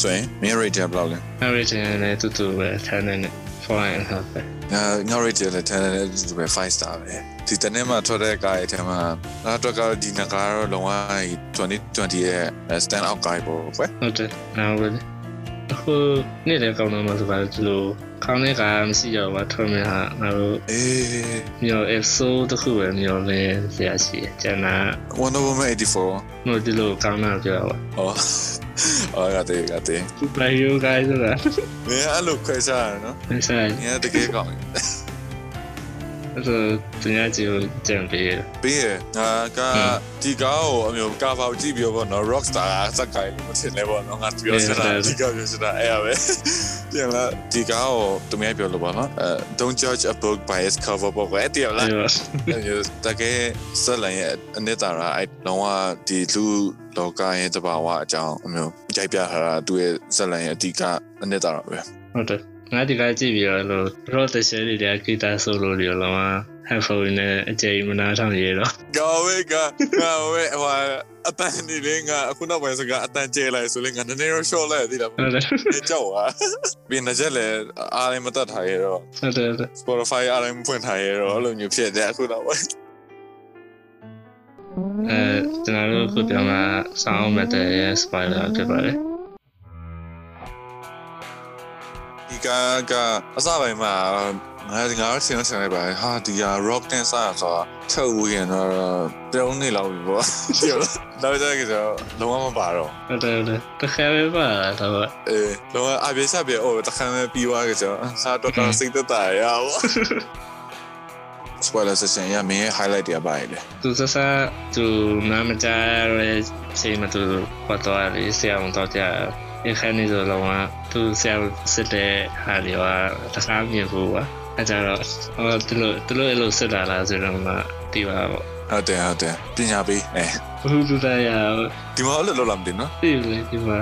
[SPEAKER 2] ဆိုရင် main rate ဘယ်လောက်လဲ
[SPEAKER 1] အမတင်လည်းတူတူပဲဆန်းနေတယ် fine ဟုတ်ပဲ
[SPEAKER 2] ငါငါ rate လည်း10နဲ့ဒီပဲ5 star ပဲဒီတနေ့မှထွက်တဲ့ကားရဲ့အထက်မှာငါအတွက်ကဒီနစ်ကားတော့လုံအောင်2020ရဲ့ stand out guy ပေါ့ကွယ်
[SPEAKER 1] ဟုတ်တယ်နားဝင်အခုနေ့လည်းကောင်းတော့မှဆိုပါလို့ဒီလိုခေါင်းထဲကမရှိတော့ဘာထွက်မယ်ဟာငါတို့
[SPEAKER 2] အေး
[SPEAKER 1] မျိုး episode တစ်ခုပဲမျိုးလဲဆရာရှိတယ်ကျန်တာ
[SPEAKER 2] Wonder Woman 84
[SPEAKER 1] မျိုးဒီလိုကောင်းတာပြောပါ
[SPEAKER 2] ဟော <laughs> အော်ရတဲ့ရတဲ့
[SPEAKER 1] သူ play you guys ဆိုတာ
[SPEAKER 2] မင်းအဲ့လိုခွဲခြားရနော်
[SPEAKER 1] မဆိုင်
[SPEAKER 2] ငါတကယ်ကောင်းတယ်
[SPEAKER 1] အဲ့ဒါသူများကြီးကိုကြံပေးတယ်
[SPEAKER 2] ပြီးရငါကဒီကားကိုအမျိုး cover ကိုကြည့်ပြီးတော့ဗောနော် rockstar ကစက်ကိုင်လို့မထင်လဲဗောနော်ငါပြောစရာဒီကားပြောစရာအဲ့ရပဲပြန်လာဒီကားကိုသူများပြောလို့ဗောနော်အဲ don't judge a book by its cover ပေါ့ကွယ်အဲ့တည်းရလား
[SPEAKER 1] အဲ့တော့
[SPEAKER 2] တကယ်ဆက်လန်ရဲ့အနှစ်သာရအဲလုံးဝဒီလူလောကရဲ့တဘာဝအကြောင်းအမျိုးကြိုက်ပြထားတာသူရဲ့ဆက်လန်ရဲ့အဓိကအနှစ်သာရပဲ
[SPEAKER 1] ဟုတ်တယ်ငါဒီကကြည့်ပြီးတော့အဲ့လို့ road session တွေတက်ဂီတာ solo တွေရောလောက headphone နဲ့အကြိမ်မနာထောင်ရေတော့
[SPEAKER 2] ငါဝေကငါဝေဟိုအတန်ဒီလေးငါအခုနောက်ပိုင်းစကအတန်ကျဲလိုက်ဆိုလေငါနည်းနည်းတော့ short လိုက်သေးတယ်
[SPEAKER 1] ဟုတ်တယ်
[SPEAKER 2] ကြောက်ပါပြီးနေကြလေအားလည်းမတတ်ထားရတော့
[SPEAKER 1] ဟုတ်တယ်ဟုတ်တယ်
[SPEAKER 2] Spotify အားလည်းမဖွင့်ထားရတော့အဲ့လိုမျိုးဖြစ်တယ်အခုနောက်ပိုင်း
[SPEAKER 1] အဲကျွန်တော်တို့ခုပြောမှာဆောင်းမတဲ့ spoiler ဖြစ်ပါတယ်
[SPEAKER 2] ဒီကကအစပိုင်းမှာငါငါဆင်းဆင်းလိုက်ပါဟာဒီက rock dance ဆာဆိုတာထုတ်ဝေးရင်တော့တုံးနေလောက်ပြီပေါ့ <laughs> ပြောတော့တော့ကြတော့လုံးဝမပါတော့
[SPEAKER 1] ဟုတ်တယ်ဟုတ်တယ်တခါပဲပါလာတော့
[SPEAKER 2] အေးလုံးဝအပြည့်စပြည့်အော်တခါမှပြီးသွားကြတော့ဟာတော့တော့ <laughs> စိတ်သက်သာရအောင် spoiler session ရမင်း highlight တွေပါလေ
[SPEAKER 1] သူစစသူနာမကြားရဲစေမသူပတ်တော်လေးဆရာဝန်တော်ကြအခန်းနေဆိုတော့ကသူဆရာစစ်တဲ့ဟာတွေကတခြားမြင်ဘူးကွာအဲကြတော့ဟောသူတို့သူတို့အဲ့လိုစစ်တာလားဆိုတော့မှဒီပါပေါ့
[SPEAKER 2] ဟုတ်တယ်ဟုတ်တယ်ပညာပေးအဲ
[SPEAKER 1] ဘူးသူတရား
[SPEAKER 2] ဒီမှာလည်းလောက်လာမတင်နော်
[SPEAKER 1] သိလေဒီမှာ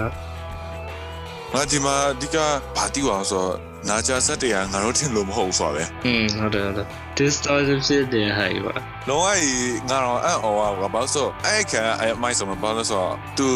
[SPEAKER 2] ငါဒီမှာအဓိကဘာတိဝအောင်ဆိုတော့နာချာဆက်တွေကငါတို့ထင်လို့မဟုတ်ဘူးဆိုပါပဲ
[SPEAKER 1] อืมဟုတ်တယ်ဟုတ်တယ် distortion ဖြစ်တဲ့ဟာကြီးပါ
[SPEAKER 2] လုံးဝကြီးငါတော့အံ့ဩပါဘာလို့ဆိုအဲ့ခါအဲ့မိုက်ဆိုမဘာလို့ဆိုတော့ तू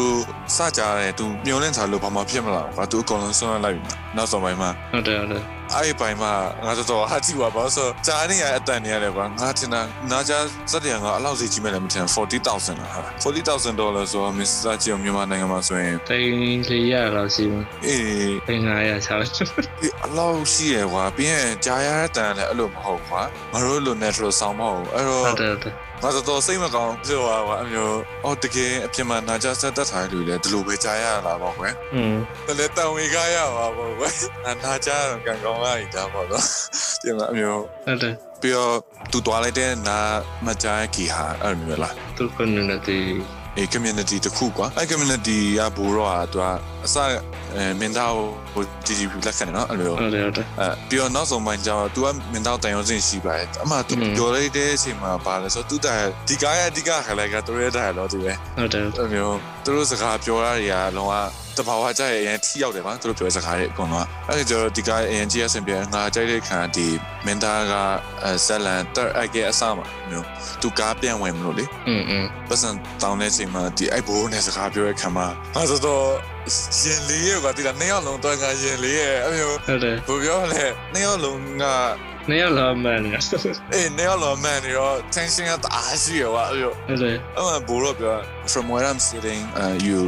[SPEAKER 2] စကြတယ် तू မျောလင့်ထားလို့ဘာမှဖြစ်မလာဘူးကွာ तू အကုန်လုံးဆွမ်းလိုက်ပြီနောက်ဆုံးပိုင်းမှာ
[SPEAKER 1] ဟုတ်တယ်ဟုတ်တယ်
[SPEAKER 2] အဲ့ဒီပိုင်းမှာငါတော်တော်ဟာကြည့်ပါဘာလို့ဆိုတော့ကြားနေရအတန်နေရတယ်ကွာငါထင်တာနားကြားစက်တရံကအဲ့လောက်စီကြီးမဲ့လည်းမထင်40000လားဟာ40000ဒေါ်လာဆိုတော့မစ္စတာချီအောင်မြန်မာနိုင်ငံမှာဆိုရင်
[SPEAKER 1] သိန်း400လောက်ရှိမှာ
[SPEAKER 2] အေး
[SPEAKER 1] သိန်း900ဆောက်
[SPEAKER 2] ဒီအလောက်ရှိရယ်ကွာပြီးရင်ကြာရတဲ့တန်လည်းအဲ့လိုမဟုတ်ကွာငါတို့လို natural sound မဟုတ်ဘူးအဲ့တော့
[SPEAKER 1] ဟုတ်တယ်ဟုတ်တယ်
[SPEAKER 2] ငါတော်တော်စိတ်မကောင်းဖြစ်သွားကွာအမျိုးအော်တကယ်အပြင်မှာနာကြဆက်တက်ထားတဲ့လူတွေလည်းဒီလိုပဲကြာရတာပေါ့ကွာ
[SPEAKER 1] อืม
[SPEAKER 2] ဒါလည်းတန်ဝေကားရပါပေါ့ကွာနာနာကြတော့ကံကောင်းလာရင်ဒါပေါ့တော့ဒီမှာအမျိုး
[SPEAKER 1] ဟုတ်တယ်
[SPEAKER 2] ပြီးတော့သူတွားလိုက်တဲ့နာမကြဲကီဟာအဲ့လိုမျိုးလား
[SPEAKER 1] သူကနူနတီ
[SPEAKER 2] အဲ community တစ်ခုကွာအဲ community ကဘူတော့อ่ะသူကအစအဲမင်းသားကိုဒီဒီလက်ခံတယ်နော်အဲ့လို
[SPEAKER 1] ဟုတ်တယ်ဟုတ်တယ်
[SPEAKER 2] အဲပြီးတော့နောက်ဆုံးပိုင်းကျတော့ तू ကမင်းသားတန်ရုံးစင်ရှိပါတယ်အမှ तू
[SPEAKER 1] อืม
[SPEAKER 2] ပြောလိုက်တဲ့အချိန်မှာပါလဲဆိုတော့ तू တာဒီကားရဲ့အဓိကခလိုက်ကသူရဲ့ dialogue တွေပဲ
[SPEAKER 1] ဟုတ်တယ်ဟုတ်တယ်
[SPEAKER 2] အဲ့မျိုးသူတို့စကားပြောတာတွေကအလုံးဝတဘာဝကြရဲ့အရင်ထိရောက်တယ်ပါသူတို့ပြောတဲ့စကားတွေအကုန်လုံးကအဲ့ဒါကျတော့ဒီကားရဲ့အရင်ကြီးအဆင်ပြေငါကြိုက်တဲ့ခံကဒီမင်းသားကအဲဇက်လန်တက်အကဲအစမှာမျိုး तू ကားပြန်ဝင်မလို့လေ
[SPEAKER 1] อืมอืม
[SPEAKER 2] ပတ်စံတောင်းတဲ့အချိန်မှာဒီအိုက်ဘိုးနဲ့စကားပြောတဲ့ခံမှာငါတော်တော်ရင်လေးရဲ့ကွာဒီလားနှစ်ယောက်လုံးတော့ငါရင်လေးရဲ့အမျိုး
[SPEAKER 1] ဟုတ်တယ်
[SPEAKER 2] ဘယ်ပြောမလဲနှစ်ယောက်လုံးက
[SPEAKER 1] နေရာလောက်မှန်နေဟုတ်တယ်
[SPEAKER 2] အေးနှစ်ယောက်လုံးအမှန်နေတော့ tension ကတအားရှိရကွာအမျိုး
[SPEAKER 1] ဟုတ်တယ်
[SPEAKER 2] အမှန်ဘိုးတော့ပြော from where i'm sitting uh, you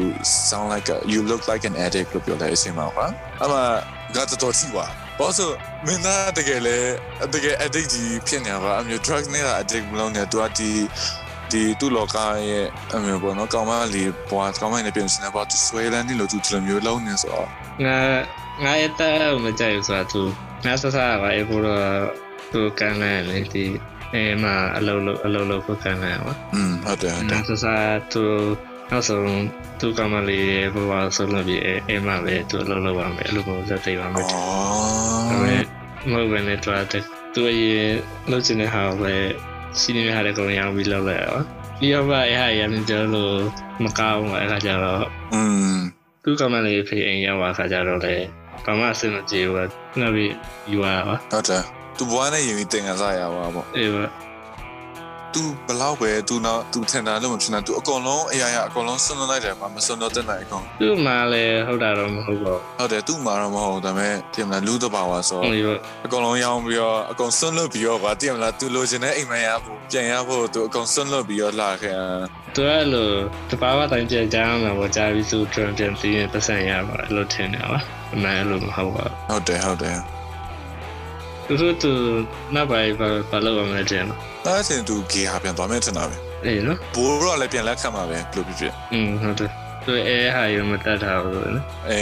[SPEAKER 2] sound like a, you look like an addict လို့ပြောတဲ့အချိန်မှာကွာအမှန်ငါတော်တော်ရှိပါဘာလို့ဆိုမင်းသားတကယ်လဲတကယ် addict ကြီးဖြစ်နေတာပါအမျိုး drug နဲ့ addict မလုံးနဲ့ तू ကဒီ ဒီသူ့လောကရဲ့အမျိုးပေါ့နော်ကောင်မလေးဘွားကောင်မလေးပြင်စနေဘွားသူဆွဲလန်းနေလို့သူဒီလိုမျိုးလုံးနေဆိုတော့
[SPEAKER 1] ငါငါအတားမကြိုက်ဘူးဆိုတာသူငါစစပါအေးဘူးတော့သူကန်နေလေဒီအဲမှာအလုံးလုံးအလုံးလုံးကိုကန်နေပါ
[SPEAKER 2] อืมဟုတ်တယ်ဟုတ်တယ်
[SPEAKER 1] Entonces a tu no son tu camale baba solo vi ema ve tu lo lo va ve lo go se te va
[SPEAKER 2] อ๋
[SPEAKER 1] ve
[SPEAKER 2] อ
[SPEAKER 1] no ve ne tra te tu ye lo chin ne ha ve si ne ha de ko yang vi lo le va ဒီအမိုင်ဟာရန်ကြလို့မကောင်းဘူးအဲ့ခါကျတော့
[SPEAKER 2] อืม
[SPEAKER 1] သူ့ကမလေးဖေးအိမ်ရောက်လာခါကျတော့လေဘာမှအဆင်မပြေဘူးနောက်ပြီးယူရပါ
[SPEAKER 2] ဟုတ်တယ်သူဘွားနဲ့ရင်တင်ကစားရပါပေါ့
[SPEAKER 1] အေးပါ
[SPEAKER 2] तू ဘလောက်ပဲ तू နောက် तू ထင်တာလို့မဖြစ်နေ तू အကုန်လုံးအရာရာအကုန်လုံးစွန့်လွတ်လိုက်တယ်ကွာမစွန့်တော့တက်နိုင်အကုန်
[SPEAKER 1] သူ့မှာလည်းဟုတ်တာတော့မဟုတ်ပါ
[SPEAKER 2] ဟုတ်တယ် तू မှာတော့မဟုတ်ဘူးဒါပေမဲ့တင်မလားလူတဘာဝဆို
[SPEAKER 1] ဘူး
[SPEAKER 2] တော့
[SPEAKER 1] ဟို
[SPEAKER 2] အကုန်လုံးရောင်းပြီးတော့အကုန်စွန့်လွတ်ပြီးတော့ကွာတင်မလား तू လိုချင်တဲ့အိမ်မရဘူးပြန်ရဖို့ तू အကုန်စွန့်လွတ်ပြီးတော့လာခဲ့တာ
[SPEAKER 1] သူကလို့တပါးပါတိုင်းပြန်ကြားမှာပေါ့ကြားပြီးသူ့ drum ပြန်ပြီးရင်ပတ်စံရပါအဲ့လိုထင်တယ်ပါအမှန်အဲ့လိုမဟုတ်ပါဘူး
[SPEAKER 2] ဟုတ်တယ်ဟုတ်တယ်
[SPEAKER 1] သူတို့သူနောက်ပိုင်းဘာဘာလုပ်ရမလဲတဲ့နော်
[SPEAKER 2] ။အဲ့ဒါဆိုရင်သူဂေဟာပြန်သွားမယ်ထင်တာပဲ
[SPEAKER 1] အေးနော်
[SPEAKER 2] ။ဘိုးတော့လည်းပြန်လက်ခံမှာပဲဘယ်လိုဖြစ်ဖြစ်
[SPEAKER 1] อืมဟုတ်တယ်သူအဲဟာရမတတ်တာဘူးလို့နော်
[SPEAKER 2] ။အဲ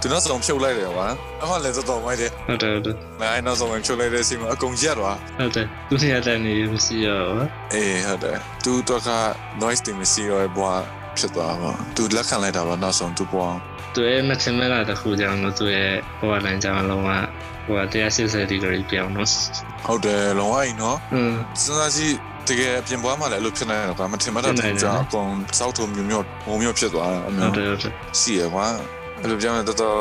[SPEAKER 2] သူနောက်ဆုံးဖြုတ်လိုက်တယ်ကွာ။အမှလည်းတော်တော်မိုက်တယ်
[SPEAKER 1] ဟုတ်တယ်ဟုတ်တယ်
[SPEAKER 2] ။နိုင်နောက်ဆုံးဝင်ဖြုတ်လိုက်တဲ့အချိန်မှာအကုန်ရက်သွား
[SPEAKER 1] ဟုတ်တယ်သူနေရာတန်နေမရှိရောပါ
[SPEAKER 2] ။အေးဟုတ်တယ်။သူတော့က noise တင်မရှိရောဘွားဖြစ်သွားပါ။သူလက်ခံလိုက်တာပါနောက်ဆုံးသူပွား
[SPEAKER 1] သူအဲမတင်မလာတစ်ခုကြောင့်လို့သူရဲ့ဟိုကလည်းကြောင့်လုံးဝဟိုက180ဒီဂရီပြောင်းနော်
[SPEAKER 2] ။ဟုတ်တယ်လုံအောင်နော်
[SPEAKER 1] อืม
[SPEAKER 2] ။စဉ်းစားကြည့်တကယ်အပြင်ပွားမှလည်းအဲ့လိုဖြစ်နေတာကွာမထင်မှတ်
[SPEAKER 1] ဖြစ်
[SPEAKER 2] တဲ့
[SPEAKER 1] နိုင်တယ်
[SPEAKER 2] ကြောင့်အကုန်စောက်ထုံမျိုးမျိုးငုံမျိုးဖြစ်သွားတာအ
[SPEAKER 1] ဟု
[SPEAKER 2] မျိုး
[SPEAKER 1] တ်တယ်ဟုတ်တယ်
[SPEAKER 2] ရှိရကွာအဲ့လိုပြောရင်တော်တော်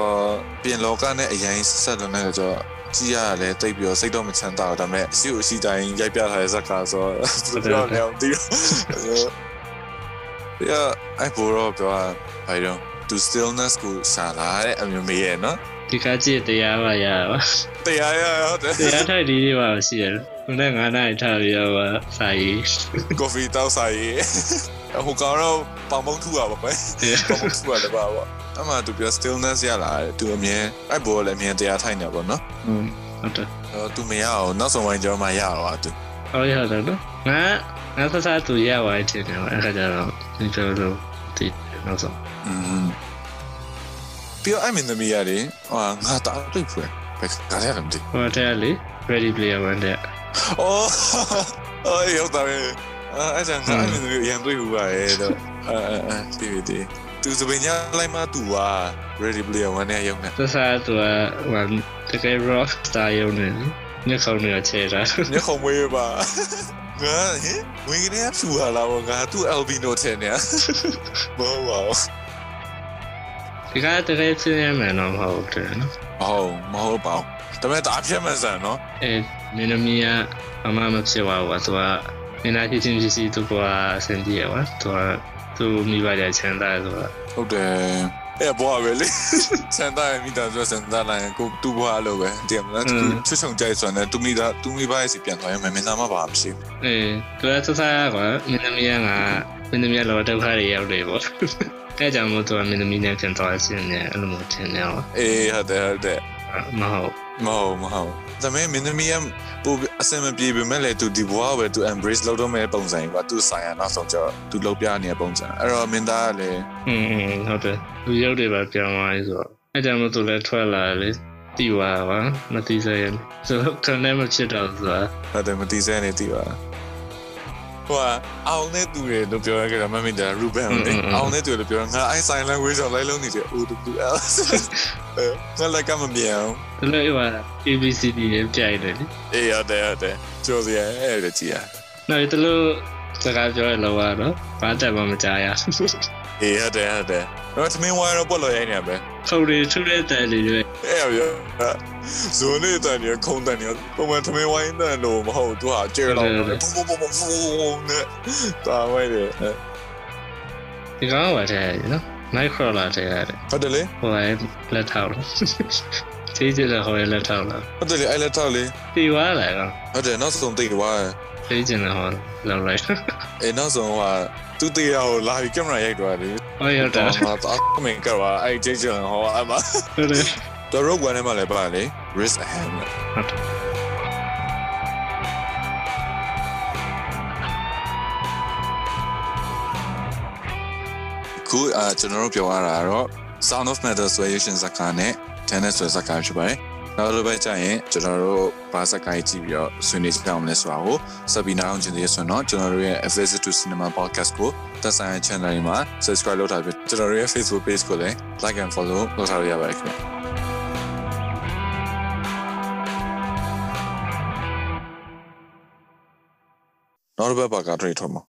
[SPEAKER 2] ပြင်လောကနဲ့အရင်ဆက်လွန်နေတဲ့ကြောင့်ကြည့်ရတာလဲတိတ်ပြီးတော့စိတ်တော့မချမ်းသာဘူးဒါပေမဲ့အရှိကိုအရှိတိုင်းရိုက်ပြထားတဲ့ဇာတ်ကားဆိုတော့ပြောလဲအောင်ဒီတော့ပြအိုက်ဘောတော့ပြောဘာလဲ to stillness ကိုရှာလာတဲ့အမျိုးမေးရနော်
[SPEAKER 1] ဒီကကြည့်တရားပါရပါ
[SPEAKER 2] တရားရဟုတ်တယ်
[SPEAKER 1] တရားထိုက်ဒီလေးပါရှိရတယ်ခုနက9နာရီထားပြီးတော့စာရေး
[SPEAKER 2] ကော်ဖီတောက်စားရေးဟိုကောင်တော့ပေါင်မုံထူတာပါပဲ တော့သူကလည်းပါပါအမှသူပြော stillness ရလာတယ်သူအမြဲအဲ့ဘောလည်းအမြဲတရားထိုင်နေပါတော့နော်
[SPEAKER 1] อืมဟုတ်တယ်
[SPEAKER 2] အဲ့တော့သူမရအောင်နောက်ဆုံးပိုင်းကျတော့မှရတော့သူ
[SPEAKER 1] ဟုတ်ရတာနော်ငါငါစစသူရပါတယ်ထင်တယ်အဲ့ခါကျတော့ဒီလိုလိုဒီနောက်ဆုံး
[SPEAKER 2] อืมပြီးတော့အမင်းသမီးရတယ်ဟာငါတအားတွေ့ဖွယ်ဘယ်ကလည်းရမသိ
[SPEAKER 1] ဟိုတဲ့လေ ready player one တဲ့
[SPEAKER 2] အော်အေးဟုတ်တယ်အဲ့ဒါငါအမင်းသမီးရန်တွေ့ဘူးပါရဲ့တော့အဲအဲတီဗီတီသူစပင်ညာလိုက်မှသူက ready player 1နဲ့ရုံနဲ့
[SPEAKER 1] စစသူကဟိုတကယ် rock star ရုံနေညခေါင်းတွေကချဲတာ
[SPEAKER 2] ညခုံမွေးပါငါဟင်ဝင်ကနေဖြူလာတော့ငါသူ albino ထဲနေဘောဝါ
[SPEAKER 1] ဒီကတကယ်ချင်းရမယ်တော့မဟုတ်ဘူးတဲ့နော်
[SPEAKER 2] ဟုတ်မဟုတ်ပါဘူးဒါပေမဲ့တအားပြတ်မှန်ဆန်နော်
[SPEAKER 1] အဲမင်းသမီးကအမမဖြစ်ပါဘူးသူကနေနာချင်းချင်းစီသူကအဆင်ပြေပါသူကသူမိဘရဲ့ချမ်းသာဆိုတာ
[SPEAKER 2] ဟုတ်တယ် အဲ့ဘွားပဲလေစံသားရဲ့မိသားစုစံသားလိုက်ရင်ကိုသူ့ဘွားလို့ပဲတကယ်မလား
[SPEAKER 1] အင်း
[SPEAKER 2] ချွတ်ချုံကြိုက်ဆိုရင်သူမိသားသူမိဘရဲ့စီပြန်သွားရင်မင်းသားမပါဘူးဖြစ်
[SPEAKER 1] အေးသူကသစားကွာမင်းသမီးကငါမင်းသမီးကလောဒုက္ခတွေရောက်တယ်ပေါ့အဲကြောင့်မို့သူကမင်းသမီးနဲ့ပြန်သွားခြင်းနဲ့အဲ့လိုမျိုးထင်နေတော့
[SPEAKER 2] အေးဟုတ်တယ်ဟုတ်တယ်
[SPEAKER 1] မဟုတ်
[SPEAKER 2] မဟုတ်မဟုတ်ဒါပေမဲ့မင်းသမီးကပိုအစင်မပြေပေမဲ့လေသူဒီဘွားကိုပဲသူ embrace လုပ်တော့မဲ့ပုံစံကြီးကွာသူဆိုင်ရနောက်ဆုံးကျတော့သူလောက်ပြနေတဲ့ပုံစံအဲ့တော့မင်းသားကလည်း
[SPEAKER 1] อืมဟုတ်တယ်သူရောက်တယ်ပါပြန်သွားရေးဆိုတော့အဲကြောင့်မို့သူလည်းထွက်လာတယ်လေတီဝါကွာမတီစရင်ဆိုတော့ခံနေမဖြစ်တော့ဆိုတော့
[SPEAKER 2] ဟုတ်တယ်မတီးစဲနေတီးပါဟိုကအောင်တဲ့သူတွေလို့ပြောရခဲ့တာမမင်းတာရူဘန်ကိုလေအောင်တဲ့သူတွေလို့ပြောရငါအဲ့ sign language ကိုလိုက်လုံးနေတယ် OWL ငါလည်းကမမြင်အောင်
[SPEAKER 1] သူလည်းဟိုက ABCD နဲ့ပြိုင်တယ်လေ
[SPEAKER 2] အေးရတယ်ရတယ်ကျော်စရာအဲ့ဒါကြည်ရ
[SPEAKER 1] နော်ဒီလိုစကားပြောရလောက်ပါတော့ဘာတက်မှမကြားရ
[SPEAKER 2] အေးရတယ်ရတယ်တော့သမင်းဝါရောပေါ်လို့ရိုင်းနေပဲ
[SPEAKER 1] ခုံတွေထုတဲ့တန်တွေတွေ
[SPEAKER 2] အဲ့ရပြောဇိုနေတန်ရခုံတန်ရပုံမှန်သမင်းဝိုင်းတန်လို့မဟုတ်သူဟာကျဲတော့ပုံပုံပုံပုံပုံနဲ့တာဝဲတယ်
[SPEAKER 1] ဒီကောင်ကဝတ်ထည့်ရတယ်နော် night crawler ထည့်ရတယ်
[SPEAKER 2] ဟုတ်တယ်လေ
[SPEAKER 1] ဟိုကလက်ထောက်လို့သိ <laughs> ကြတယ်ဟိုကလက်ထောက်လား
[SPEAKER 2] ဟုတ်တယ်လေအဲ့လက်ထောက်လေ
[SPEAKER 1] တီဝါလာတော့
[SPEAKER 2] ဟုတ်တယ်နောက်ဆုံးတိတ်သွား
[SPEAKER 1] သိကြတယ်ဟိုလောက်လိုက် <laughs>
[SPEAKER 2] အဲ့နောက်ဆုံးဟာသူတေးရကိုလာပြီးကင်မရာရိုက်သွားတယ်
[SPEAKER 1] ဟောရောက်တာ
[SPEAKER 2] မတော်မင်ကဘာအဲ့ဂျေဂျန်ဟောအမ
[SPEAKER 1] <laughs> ဟုတ်တယ်
[SPEAKER 2] တော်ရုပ်ဝင်နေမှလည်းပါလေ risk hand ခုအကျွန်တော်တို့ပြောရတာကတော့ sound of metal ဆိုရရှင်စကားနဲ့ tennis ဆိုစကားဖြစ်ပါတယ်။နောက်တစ်ပတ်ကျရင်ကျွန်တော်တို့ဘာစကားကြီးကြည့်ပြီးတော့ဆွေးနွေးကြအောင်လဲဆိုတာကိုဆက်ပြီးနားအောင်ကြည့်သေးဆိုတော့ကျွန်တော်တို့ရဲ့ A Visit to Cinema Podcast ကိုသက်ဆိုင်ရာ channel တွေမှာ subscribe လုပ်ထားပြီးကျွန်တော်တို့ရဲ့ Facebook page ကိုလည်း like and follow လုပ်ထားလို့ရပါတယ်ခင်ဗျာ။ Not a bad bug, I don't know.